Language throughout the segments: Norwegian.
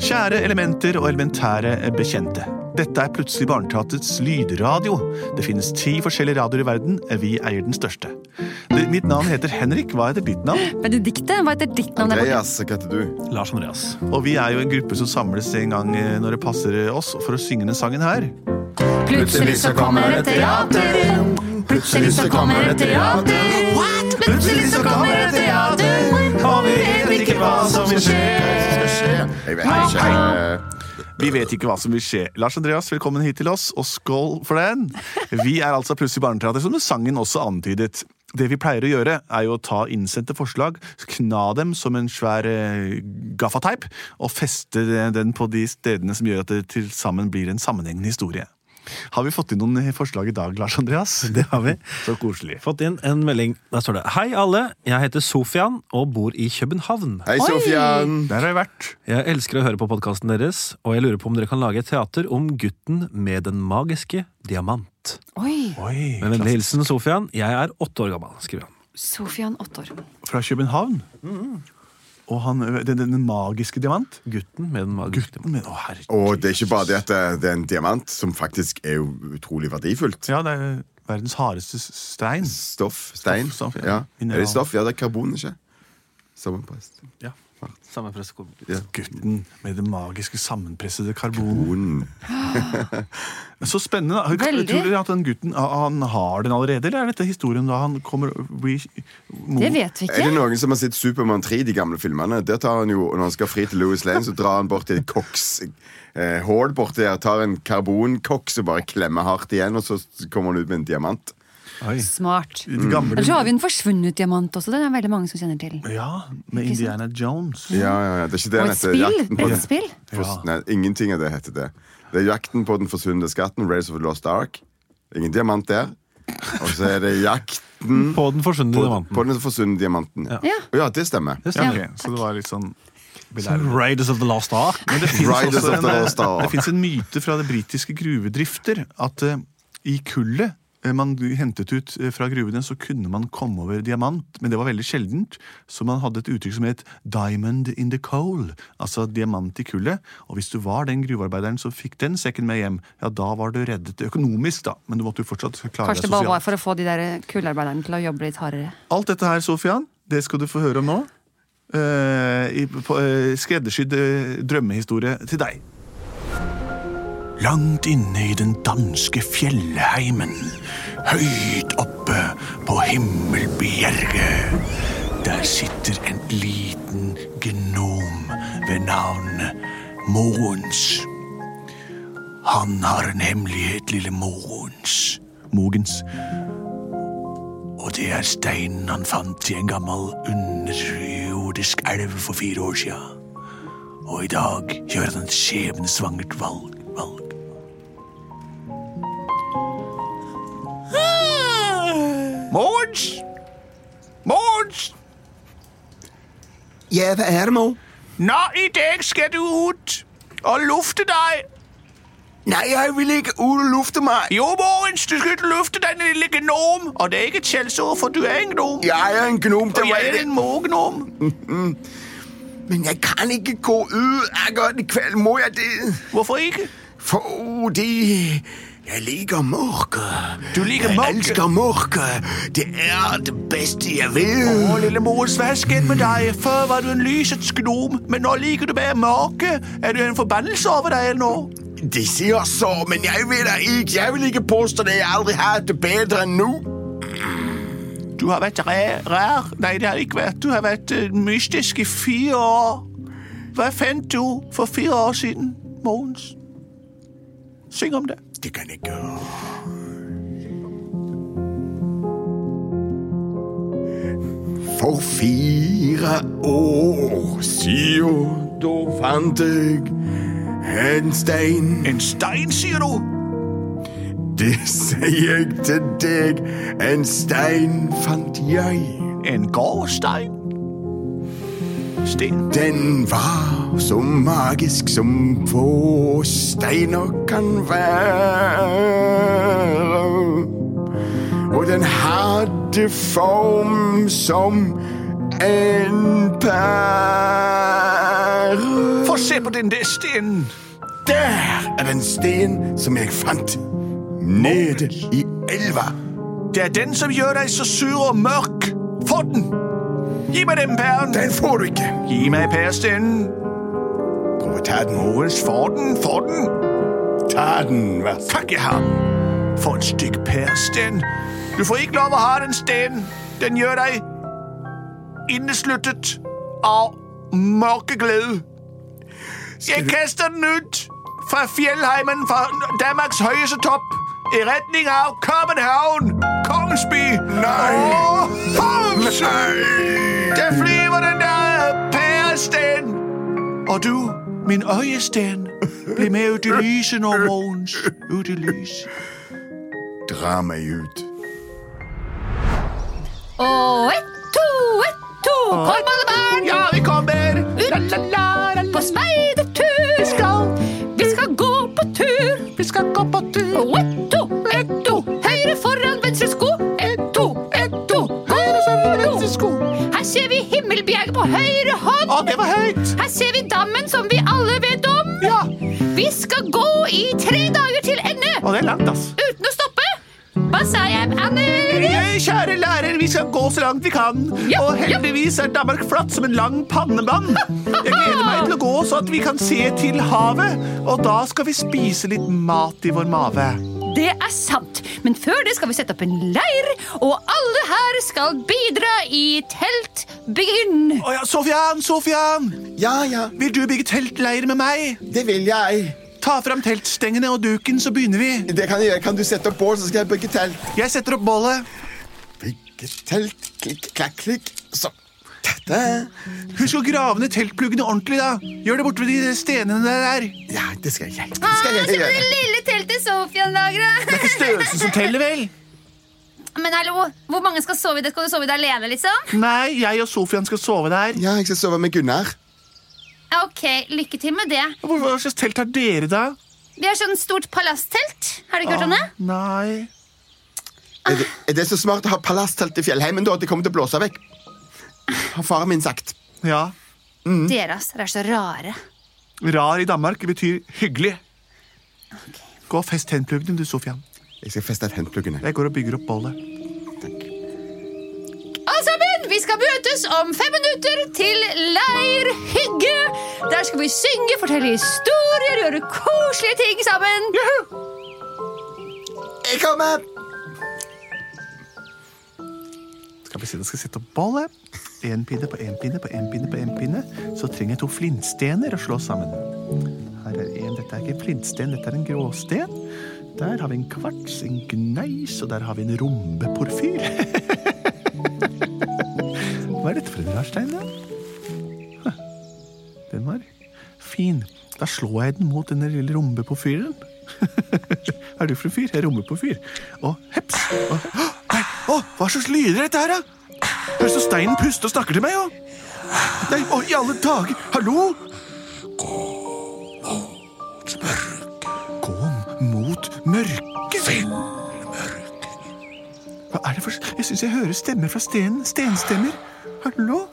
Kjære elementer og elementære bekjente. Dette er plutselig Barneteatrets lydradio. Det finnes ti forskjellige radioer i verden. Vi eier den største. Det, mitt navn heter Henrik. Hva heter ditt navn? Benedikte, hva heter ditt navn? der borte? Andreas, hva heter du? Lars Andreas. Og vi er jo en gruppe som samles en gang eh, når det passer oss for å synge den sangen her. Plutselig så kommer et teater. Plutselig så kommer et teater. Plutselig så kommer et teater. og vi vet ikke hva som vil skje. Hva skjer? Jeg vet ikke. Vi vet ikke hva som vil skje. Lars Andreas, velkommen hit til oss, og skål for den! Vi er altså plutselig barneteater, som sangen også antydet. Det vi pleier å gjøre, er jo å ta innsendte forslag, kna dem som en svær eh, gaffateip, og feste den på de stedene som gjør at det til sammen blir en sammenhengende historie. Har vi fått inn noen forslag i dag, Lars Andreas? Det har vi. Så koselig. Fått inn en melding. Der står det Hei, alle. Jeg heter Sofian og bor i København. Hei, Sofian. Der har vi vært. Jeg elsker å høre på podkasten deres, og jeg lurer på om dere kan lage et teater om gutten med den magiske diamant. Oi, Oi, Med vennlig hilsen Sofian. Jeg er åtte år gammel, skriver han. Sofian åtte år. Fra København. Mm. Og han, den, den magiske diamant. Gutten med den magiske diamant. Men, å, herre. Og det er ikke bare det at det er en diamant, som faktisk er jo utrolig verdifullt. Ja, det er verdens hardeste s- stein. Stoff, stein. Stoff, stoff, ja. ja. Er Mineral. det stoff? Ja, det er karbon, ikke? Sammenprest. Ja. Samme pressekonferanse. Ja. Gutten med det magiske sammenpressede karbonet. Karbon. Så spennende. da. Veldig. Tror dere at den gutten han har den allerede, eller er dette historien da han kommer blir mor? Det vet vi Er det ikke. noen som har sett Supermann 3, de gamle filmene? Der tar han jo, Når han skal fri til Louis Lane, så drar han bort til et koks eh, hull borti der, tar en karbonkoks og bare klemmer hardt igjen, og så kommer han ut med en diamant. Smart. De gamle Ellers så har vi en forsvunnet diamant også. Den er veldig mange som kjenner til. Ja, med Ikke sant? Indiana Jones. Ja, ja, ja. Det er ikke det Og han et heter. spill. Jakten på Et den- spill. fors- Nei, ingenting av det heter det. Det er Jakten på den forsvunne skatten, Race of the Lost Ark. Ingen diamant der. Og så er det Jakten På den forsvunne på, diamanten. på den forsvunne diamanten. Ja. Ja. ja, det stemmer. Ja, Ja, ok, så det var litt sånn Raiders of the Lost Ark. Men det finnes Riders også of en, the Lost Ark. det finnes en myte fra det britiske gruvedrifter at eh, i kullet eh, man hentet ut eh, fra gruvene, så kunne man komme over diamant, men det var veldig sjeldent. Så man hadde et uttrykk som het 'diamond in the coal', altså diamant i kullet. Og hvis du var den gruvearbeideren som fikk den sekken med hjem, ja, da var du reddet økonomisk, da. Men du måtte jo fortsatt klare deg Kanskje det bare var sosialt. for å få de der kullarbeiderne til å jobbe litt hardere. Alt dette her, Sofian, det skal du få høre om nå. Eh, i, på, eh, skreddersydd eh, drømmehistorie til deg. Langt inne i den danske fjellheimen, høyt oppe på himmelbjerget, der sitter en liten gnom ved navn Mogens. Han har en hemmelighet, lille Mogens. Mogens. Og det er steinen han fant i en gammel underjordisk elv for fire år sia. Og i dag gjør han et skjebnesvangert valg. valg. Mons! Mons! Ja, hvad er det, mor? Nå, i dag skal du ut og lufte deg. Nej, jeg vil ikke ud og lufte mig. Jo, Morens, du skal ikke lufte den lille gnom. Og det er ikke et skjellsord, for du er en gnom. Jeg er en gnom, der Og jeg er en mågnom. Men jeg kan ikke gå ud og gøre det kvæl, må jeg det? Hvorfor ikke? For uh, det... Jeg ligger mørke. Du ligger Jeg mørke? elsker mørke. Det er det bedste, jeg ved. Åh, lille Mogens, hva er skjedd med deg? Før var du en lysets gnom, men nå liker du bare mørke. Er du en forbannelse over deg eller nå? Det siger så, men jeg ved da ikke. Jeg vil ikke påstå, at jeg aldrig har det bedre end nu. Du har vært ræ- rar. Nei, det har ikke vært. Du har vært eh, mystisk i fire år. Hva fant du for fire år siden, Mogens? Syng om det. Det kan jeg gøre. For fire år siden, da fant jeg en stein. En stein, sier du? Det sier jeg til deg. En stein fant jeg. En gårdstein? Sten. Den var så magisk som få steiner kan være. Og den hadde form som en pære. For Se på den der stenen. Der er den sten som jeg fant. Nede i elva. Det er den som gjør deg så sur og mørk. Få den! Gi meg den pæren. Den får du ikke. Gi meg pærestenen. Prøv å ta den. Mogens, få den, få den. Ta den, vær så Takk i ham. For et stykk pæresten. Du får ikke lov å ha den stenen. Den gjør deg innesluttet av mørke glede. Jeg kaster den ut fra fjellheimen fra Danmarks høyeste topp i retning av København, Kongensby og Holms. Der flyver den der pæresten. Og du, min øjesten, bli med ut i lyset nå, Mogens. Ut i lyset. Dra meg ut. Og ett, to, ett, to, kom alle barn Ja, vi kommer! La, la, la, la, la. på speidertur. Vi skal, vi skal gå på tur. Vi skal gå på tur. Og ett, to, ett, to, høyre foran venstre sko. Ett, to, ett, to, høyre foran venstre sko. Her ser vi Himmelbjerget på høyre hånd. Å, det var høyt! Her ser vi dammen som vi alle vet om. Ja, Vi skal gå i tre dager til ende og det er langt, ass. uten å stoppe. Hva sa jeg, Anne? Eh, Kjære lærer, vi skal gå så langt vi kan. Ja, Og ja. heldigvis er Danmark flatt som en lang pannebånd. Jeg gleder meg til å gå så at vi kan se til havet. Og da skal vi spise litt mat i vår mave. Det er sant, men før det skal vi sette opp en leir, og alle her skal bidra i teltbyggingen. Å ja, Sofian, Sofian! Ja, ja, Vil du bygge teltleir med meg? det vil jeg. Ta fram teltstengene og duken, så begynner vi. Det kan jeg gjøre. Kan du sette opp bål, så skal jeg bygge telt. Jeg setter opp bålet. Bygge telt, klikk, klakk, klikk. Sånn. Dette. Husk å grave ned teltpluggene ordentlig, da. Gjør det borte ved de stenene der. Det Ja, det skal jeg. Det Ah, skal se jeg på det gjøre. lille teltet Sofian lagra. er ikke størrelsen som teller, vel? Men hallo, hvor mange skal sove i det? Skal du sove i det alene, liksom? Nei, jeg og Sofian skal sove der. Ja, jeg skal sove med Gunnar. Ja, Ok, lykke til med det. Hvor- Hva slags telt har dere, da? Vi har sånn stort palasstelt. Har du ikke hørt om det? Ah. Nei. Er det, er det så smart å ha palasstelt i fjellheimen da? at Det kommer til å blåse vekk. Har faren min sagt. Ja. Mm. Dere ass, dere er så rare. Rar i Danmark betyr hyggelig. Gå og fest tennpluggene, du, Sofian. Jeg skal feste tentpluggene. Jeg går og bygger opp bålet. Alle sammen, vi skal møtes om fem minutter til leirhygge. Der skal vi synge, fortelle historier, gjøre koselige ting sammen. Jeg kommer! Skal vi se, da skal jeg sette opp bålet. Én pinne på én pinne på én pinne. på en pinne. Så trenger jeg to flintstener å slå sammen. Her er en, Dette er ikke en flintsten, dette er en gråsten. Der har vi en kvarts, en gneis, og der har vi en rombeporfyr. Hva er dette for en rar stein, da? Huh. Den var fin. Da slår jeg den mot den lille rombeporfyren. er du for en fyr? Jeg er rombeporfyr. Og heps! Og, nei, å, hva slags lyder er dette her, da? Høres ut som steinen puster og snakker til meg, jo. Nei, å, i alle dager! Hallo? Gå mot mørket. Hva er det for Jeg syns jeg hører stemmer fra stenen. Stenstemmer. Hallo?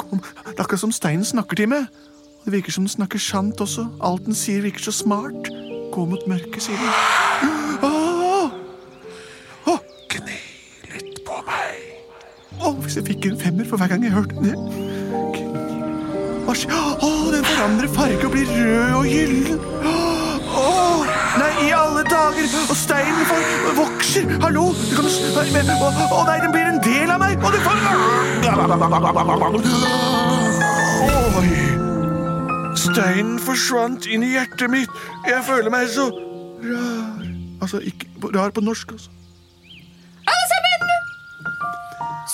Kom. Det er akkurat som steinen snakker til meg. Og Det virker som den snakker sant også. Alt den sier, virker så smart. Gå mot mørket, sier den. Åh! Åh! Gni litt på meg. Åh, hvis jeg fikk en femmer for hver gang jeg hørte det. Hva skjer? Åh, den forandrer farge og blir rød og gyllen. Åh, nei, i alle dager. Og steinen får vokser. Hallo? Du kan s- nei, men- Åh, åh, nei, den blir en del av meg. Og den får Oi. Steinen forsvant inn i hjertet mitt. Jeg føler meg så rar. Altså, ikke rar på norsk, altså. Alle sammen!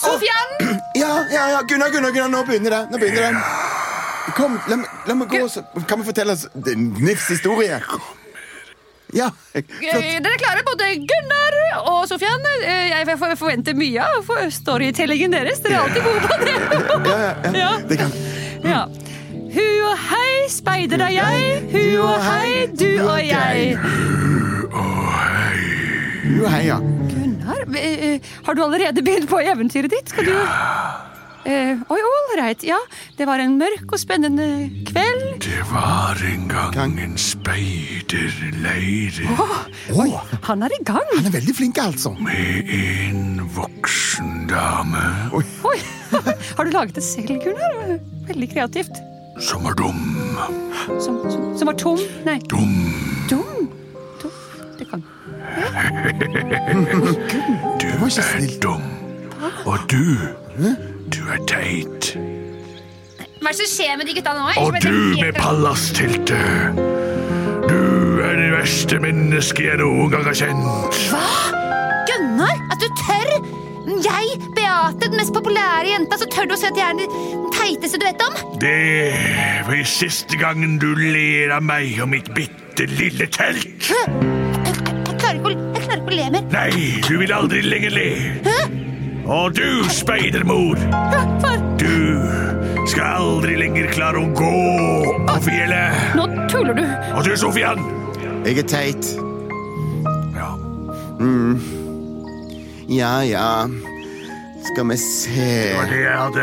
Sofian, Ja, ja, ja, Gunnar, Gunnar, Gunnar, nå begynner det. Nå begynner det. Kom, la, meg- la meg gå, så kan vi fortelle oss Nils historie. Ja, flott. eh, dere klarer både Gunnar og Sofian. Eh, Jeg for- for- forventer mye av for- storytellingen deres. Dere er alltid gode på det. Ja. Det kan. Ja. Hu og hei, speider er jeg. Hu og hei, du og jeg. Jo, hei, ja. Gunnar, eh, eh, har du allerede begynt på eventyret ditt? Skal du Eh, Oi, all right. Ja, det var en mørk og spennende kveld. Det Det var en gang en speiderleire Oi, Han er i gang. han er veldig flink, altså. med en voksen dame Oi. Har du laget det selv, Gunnar? Veldig kreativt. som var dum. Som, som, som var tom. Nei, Dum. dum. Dum. Det kan Du var ikke er snill. dum. Og du, du er teit. Hva er det som skjer med de gutta nå? Og Jeg du ble med helt- palassteltet. Du er det verste mennesket jeg noen gang har kjent. Gunnar, at du tør! Jeg, Beate, den mest populære jenta, så tør du å si at jeg er den teiteste du vet om? Det var siste gangen du ler av meg og mitt bitte lille telt. Hæ? Jeg, jeg, klarer ikke å, jeg klarer ikke å le mer. Nei, du vil aldri lenger le. Hæ? Og du, speidermor, Hæ? Far, du skal aldri lenger klare å gå på fjellet. Nå tuller du. Og du, Sofian. Jeg er teit. Mm. Ja. Ja, ja. Skal vi se Det var det jeg hadde.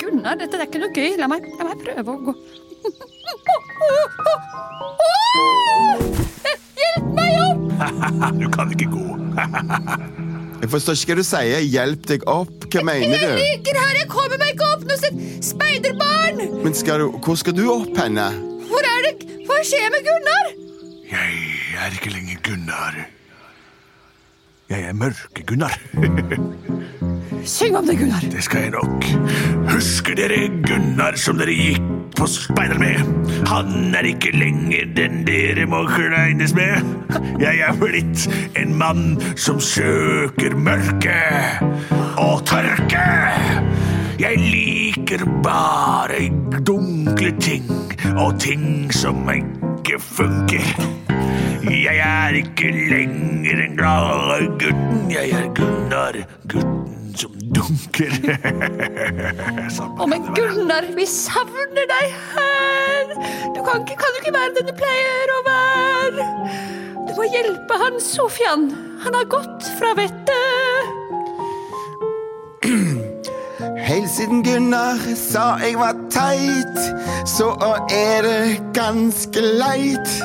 Gunnar, dette er ikke noe gøy. La meg, la meg prøve å gå. Hjelp meg opp! Du kan ikke gå. Jeg forstår ikke hva du sier. Hjelp deg opp. Hva mener Jeg du? ligger her, jeg kommer meg ikke opp! Nå sitter speiderbarn! Men skal du, hvor skal du opp henne? Hvor er det? Hva skjer med Gunnar? Jeg er ikke lenger Gunnar. Jeg er Mørke-Gunnar. Syng om det, Gunnar. Det skal jeg nok. Husker dere Gunnar som dere gikk på speider med? Han er ikke lenger den dere må kleines med. Jeg er blitt en mann som søker mørke og tørke. Jeg liker bare dunkle ting og ting som ikke funker. Jeg er ikke lenger en glad gutten. Jeg er Gunnar, gutten som dunker. Sånn. Å, men Gunnar, vi savner deg her! Du kan, ikke, kan du ikke være den du pleier å være? Du må hjelpe han, Sofian. Han har gått fra vettet. Helt siden Gunnar sa jeg var teit, så er det ganske leit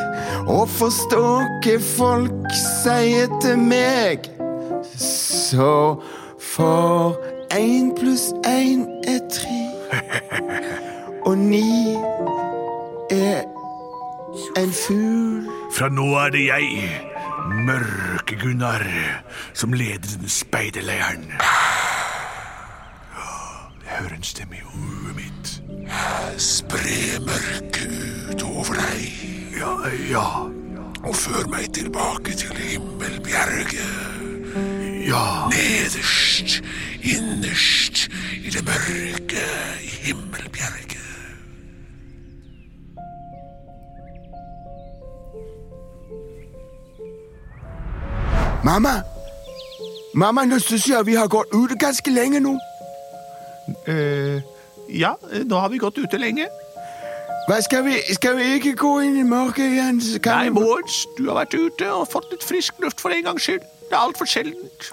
å forstå hva folk sier til meg. Så for én pluss én er tre, og ni er en fugl. Fra nå er det jeg, Mørke-Gunnar, som leder denne speiderleiren. Jeg hører en stemme i huet mitt. Spre mørket over deg. Ja, ja. Og før meg tilbake til himmelbjerget. Ja. Nederst, innerst, i det mørke i himmelbjerget. Mamma! Mamma, nå syns jeg vi har gått ute ganske lenge nå. Eh, ja, nå har vi gått ute lenge. Hva, skal, vi, skal vi ikke gå inn i mørket igjen? Så kan Nei, vi- Morens, du har vært ute og fått litt frisk luft for en gangs skyld. Det er altfor sjeldent.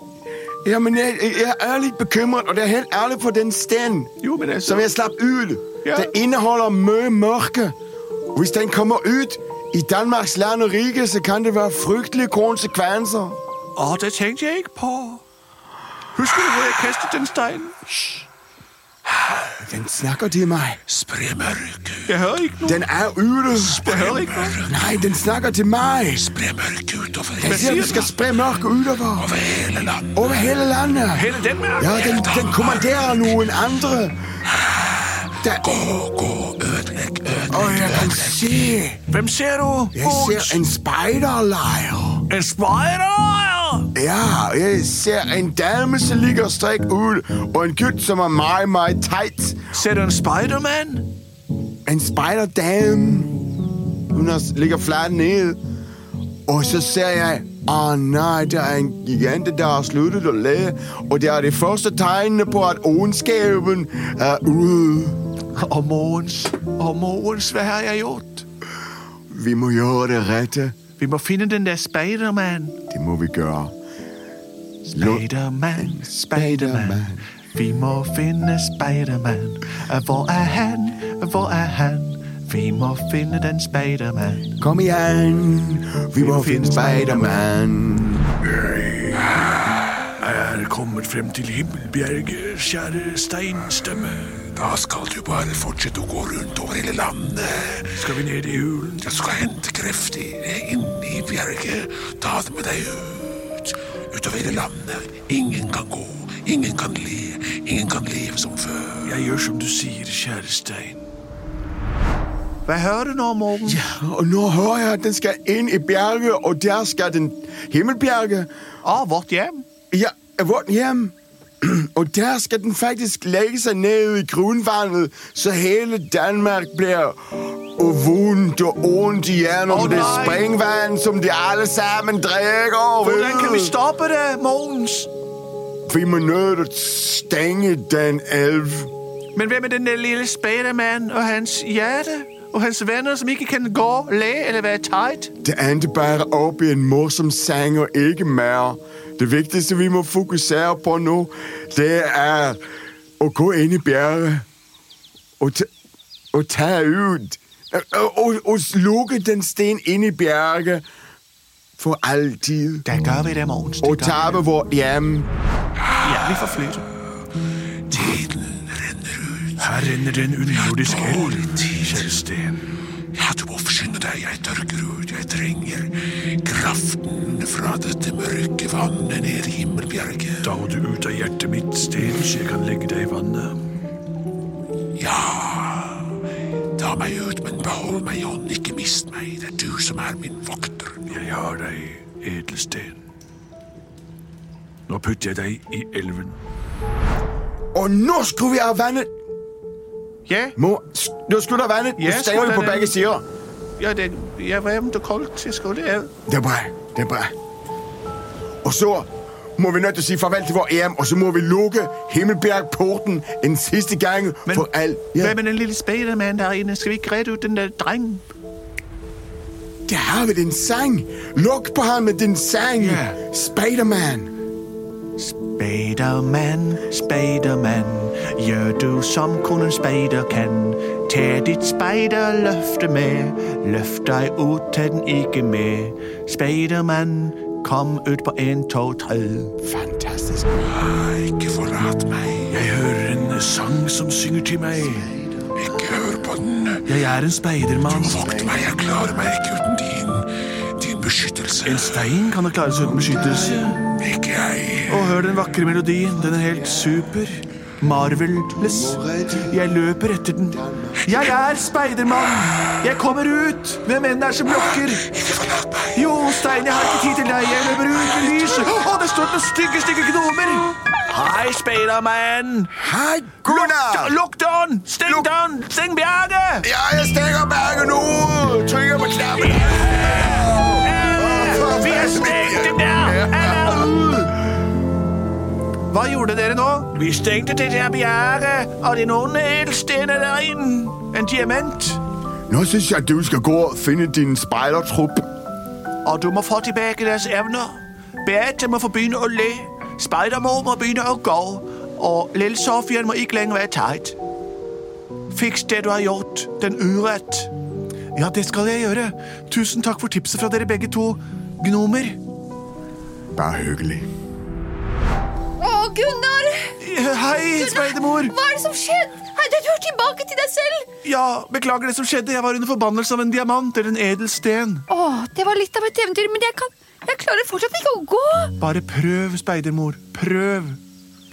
Ja, men jeg, jeg er litt bekymret, og det er helt ærlig for den steinen Jo, men som altså, jeg slapp ut. Ja. Den inneholder mye mørke. Og Hvis den kommer ut i Danmarks land og rike, så kan det være fryktelige konsekvenser. Å, det tenkte jeg ikke på. Husker du hvor jeg kastet den steinen? Den snakker til meg. Spre mørket, Jeg hører ikke noe. Den er ute. Jeg hører ikke noe. Nei, den snakker til meg. spre mørket utover Den sier vi skal spre mørket utover. over hele landet. Over hele landet. Hele den med Ja, den, den kommanderer noen andre. Det, Gå, gå, ødelegg, ødelegg. og jeg kan se Hvem ser du? Jeg ser en speiderleir. en spider! Ja, jeg ser en dame som ligger strek ud, og en gutt som er meget, meget teit. Ser du en Spiderman? En spejderdame. Hun er, ligger flat ned. Og så ser jeg, åh nej, der er en gigante, der har sluttet at læge, og det er det første tegnene på, at ondskaben er ude. Og Morens, og Morens, hva har jeg gjort? Vi må gøre det rette. Vi må finne den der Spiderman. Det må vi gøre. Lå- Spiderman, Spiderman. Vi må finne Spiderman. Hvor er han? Hvor er han? Vi må finne den speidermann. Kom igjen, vi må finne Spiderman. Er kommet frem til Himmelbjerget, kjære steinstemme. Da skal du bare fortsette å gå rundt over hele landet. Skal vi ned i hulen? Du skal hente krefter inne i bjerget. Ta det med deg ut. Utover hele landet. Ingen kan gå. Ingen kan le. Ingen kan leve som før. Jeg gjør som du sier, kjære stein. Hvad hører du nå, Morten? Ja. Og nå hører jeg at den skal inn i bjerget, og der skal den himmelbjerget. Og vort hjem. Ja, jeg vårt hjem. Og der skal den faktisk legge seg ned i grunvannet, så hele Danmark blir og vondt og ondt igjennom Å, det nei. springvann som de alle sammen drikker. ved Hvordan kan vi stoppe det, Mogens? Vi må nødt til å stenge den elv. Men hvem er den der lille spædemand og hans hjerte? Og hans venner, som ikke kan gå, læge eller være tight? Det endte bare opp i en morsom sang og ikke mer. Det viktigste vi må fokusere på nå, det er å gå inn i bjerget og ta, og ta ut og, og, og lukke den sten inn i bjerget for alltid. Der gør vi det, Mogens. Det Og gør vi. tape vårt hjem. Ja, vi får flytte. Tiden renner ut. Her renner det en underjordisk elv. Kjellsten. Ja, du må skynde deg. Jeg tørker ut. Jeg trenger kraften fra dette mørke vannet ned i himmelbjerget. Da må du ut av hjertet mitt, Sten, så jeg kan legge deg i vannet. Ja. Ta meg ut, men behold meg i hånden. Ikke mist meg. Det er du som er min vokter. Jeg har deg, edelsten. Nå putter jeg deg i elven. Og nå skrur vi av vannet. Ja, Må, s- nå skrur du av vannet. Ja, Nå stenger skru vi av på begge vannet. sider. ja, det, ja, hvad er det, der er koldt? Jeg skulle det af. Det er bra. Det er bra. Og så må vi nødt til å si farvel til vår EM, og så må vi lukke Himmelbergporten en siste gang for alt. Hvad med den lille spædemand derinde? Skal vi ikke redde ud den der dreng? Der har vi din sang. Lukk på ham med din sang. Ja. Spiderman. Spiderman, Spiderman, gør du som kun en spider kan. Tag dit spiderløfte med, løft dig ud, tag den ikke med. Spiderman, kom ud på en, to, tre. Fantastisk. Ikke forlat meg. Jeg hører en sang som synger til meg. Ikke hør på den. Jeg er en speidermann. Vokt meg, jeg klarer meg ikke uten din, din beskyttelse. En stein kan da klare seg uten beskyttelse. Ikke jeg. Og hør den vakre melodien. Den er helt super. Marvelous. Jeg løper etter den. Jeg er speidermann. Jeg kommer ut. Hvem enn det er som lokker. Jo, Stein, jeg har ikke tid til deg. Jeg løper ut med lyset. Å, det står noen stygge, stygge gnomer. Hej, Spiderman! Hei, Gunnar! Luk døren! Stæng døren! Stæng bjerget! Ja, jeg stenger berget nå! Trykker på knappen. Vi har stængt dem der! Alle er ude! Hvad gjorde dere nå? Vi stengte det der bjerge, og den onde edelstene derinde. En diamant. Nå synes jeg, du skal gå og finne din speidertrupp. Og du må få tilbage deres evner. Beate må få begynne at læ. Spidermor må begynne at gå. Og lille Sofian må ikke længere være tight. Fiks det du har gjort. Den urett. Ja, det skal jeg gjøre. Tusen takk for tipset fra dere begge to. Gnomer. Bare hyggelig. Å, Gunnar! Hei, speidermor. Hva er det som skjedde? Hei, du er tilbake til deg selv! Ja, beklager det som skjedde. Jeg var under forbannelse av en diamant eller en edel sten. Å, det var litt av et eventyr, men jeg kan Jeg klarer fortsatt ikke å gå. Bare prøv, speidermor. Prøv.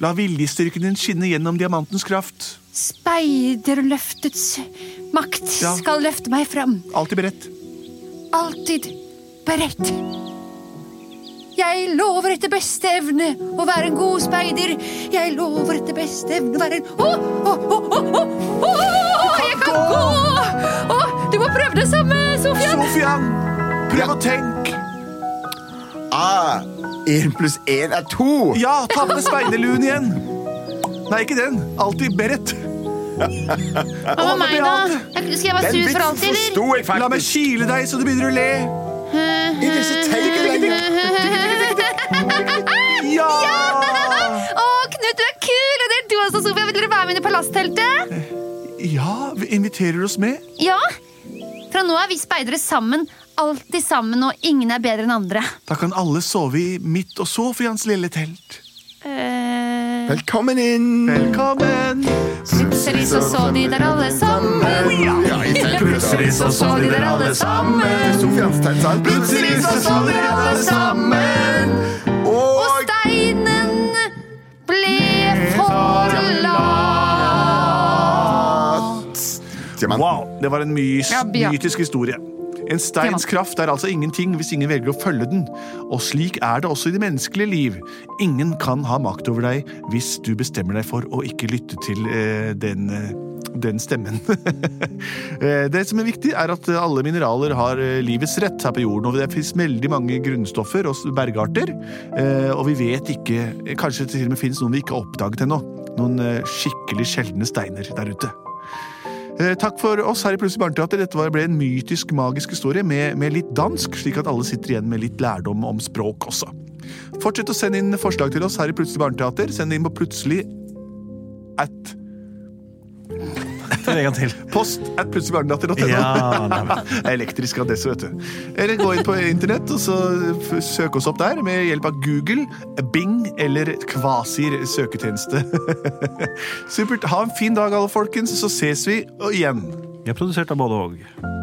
La viljestyrken din skinne gjennom diamantens kraft. Speiderløftets makt Ja. skal løfte meg fram. Alltid beredt. alltid beredt. Jeg lover etter beste evne å være en god speider. Jeg lover etter beste evne å være en Å, å, å, å, å, å, å, jeg kan gå! Å, du må prøve det samme, Sofian. Sofian, prøv å tenke. Ah, en pluss en er to. Ja, ta med speiderluen igjen. Nei, ikke den. Alltid beredt. Hva med meg, da? Skal jeg være Den sur for vitsen alltid, forsto jeg La meg faktisk. kile deg så du begynner å le. Ikke så teit lenger. Ja! Å, Knut, du er kul! Og det er du også, Sofia. Vil dere være med inn i Palastteltet? Ja, vi inviterer oss med. Ja. Fra nå er vi speidere sammen, alltid sammen, og ingen er bedre enn andre. Da kan alle sove i mitt og Sofians lille telt. Eh, Velkommen inn! Velkommen! plutselig så så de der alle sammen. Ja, i telt, Plutselig så så de der alle sammen. Sofians telt, sant? Plutselig så så de der alle sammen. Og steinen ble for lat. Diamant. Wow, det var en mys Ja, ja. mytisk historie. En steins kraft er altså ingenting hvis ingen velger å følge den. Og slik er det også i det menneskelige liv. Ingen kan ha makt over deg hvis du bestemmer deg for å ikke lytte til eh, den, eh, den stemmen. Eh, det som er viktig, er at eh, alle mineraler har eh, livets rett her på jorden. Og det fins veldig mange grunnstoffer og s- bergarter. eh, Og vi vet ikke eh, Kanskje det til og med fins noen vi ikke har oppdaget ennå. Noen eh, skikkelig sjeldne steiner der ute. Eh, Takk for oss her i Plutselig barneteater. Dette var- ble en mytisk, magisk historie med, med litt dansk, slik at alle sitter igjen med litt lærdom om språk også. Fortsett å sende inn forslag til oss her i Plutselig barneteater. Send det inn på plutselig at Ta det en gang til. post at plutseligbarneteater.no. Ja, neimen. Elektrisk adresse, vet du. Eller gå inn på internett og så f- søk oss opp der med hjelp av Google, Bing eller Kvasir søketjeneste. Supert. Ha en fin dag, alle folkens, så ses vi og igjen. Vi er produsert av både og.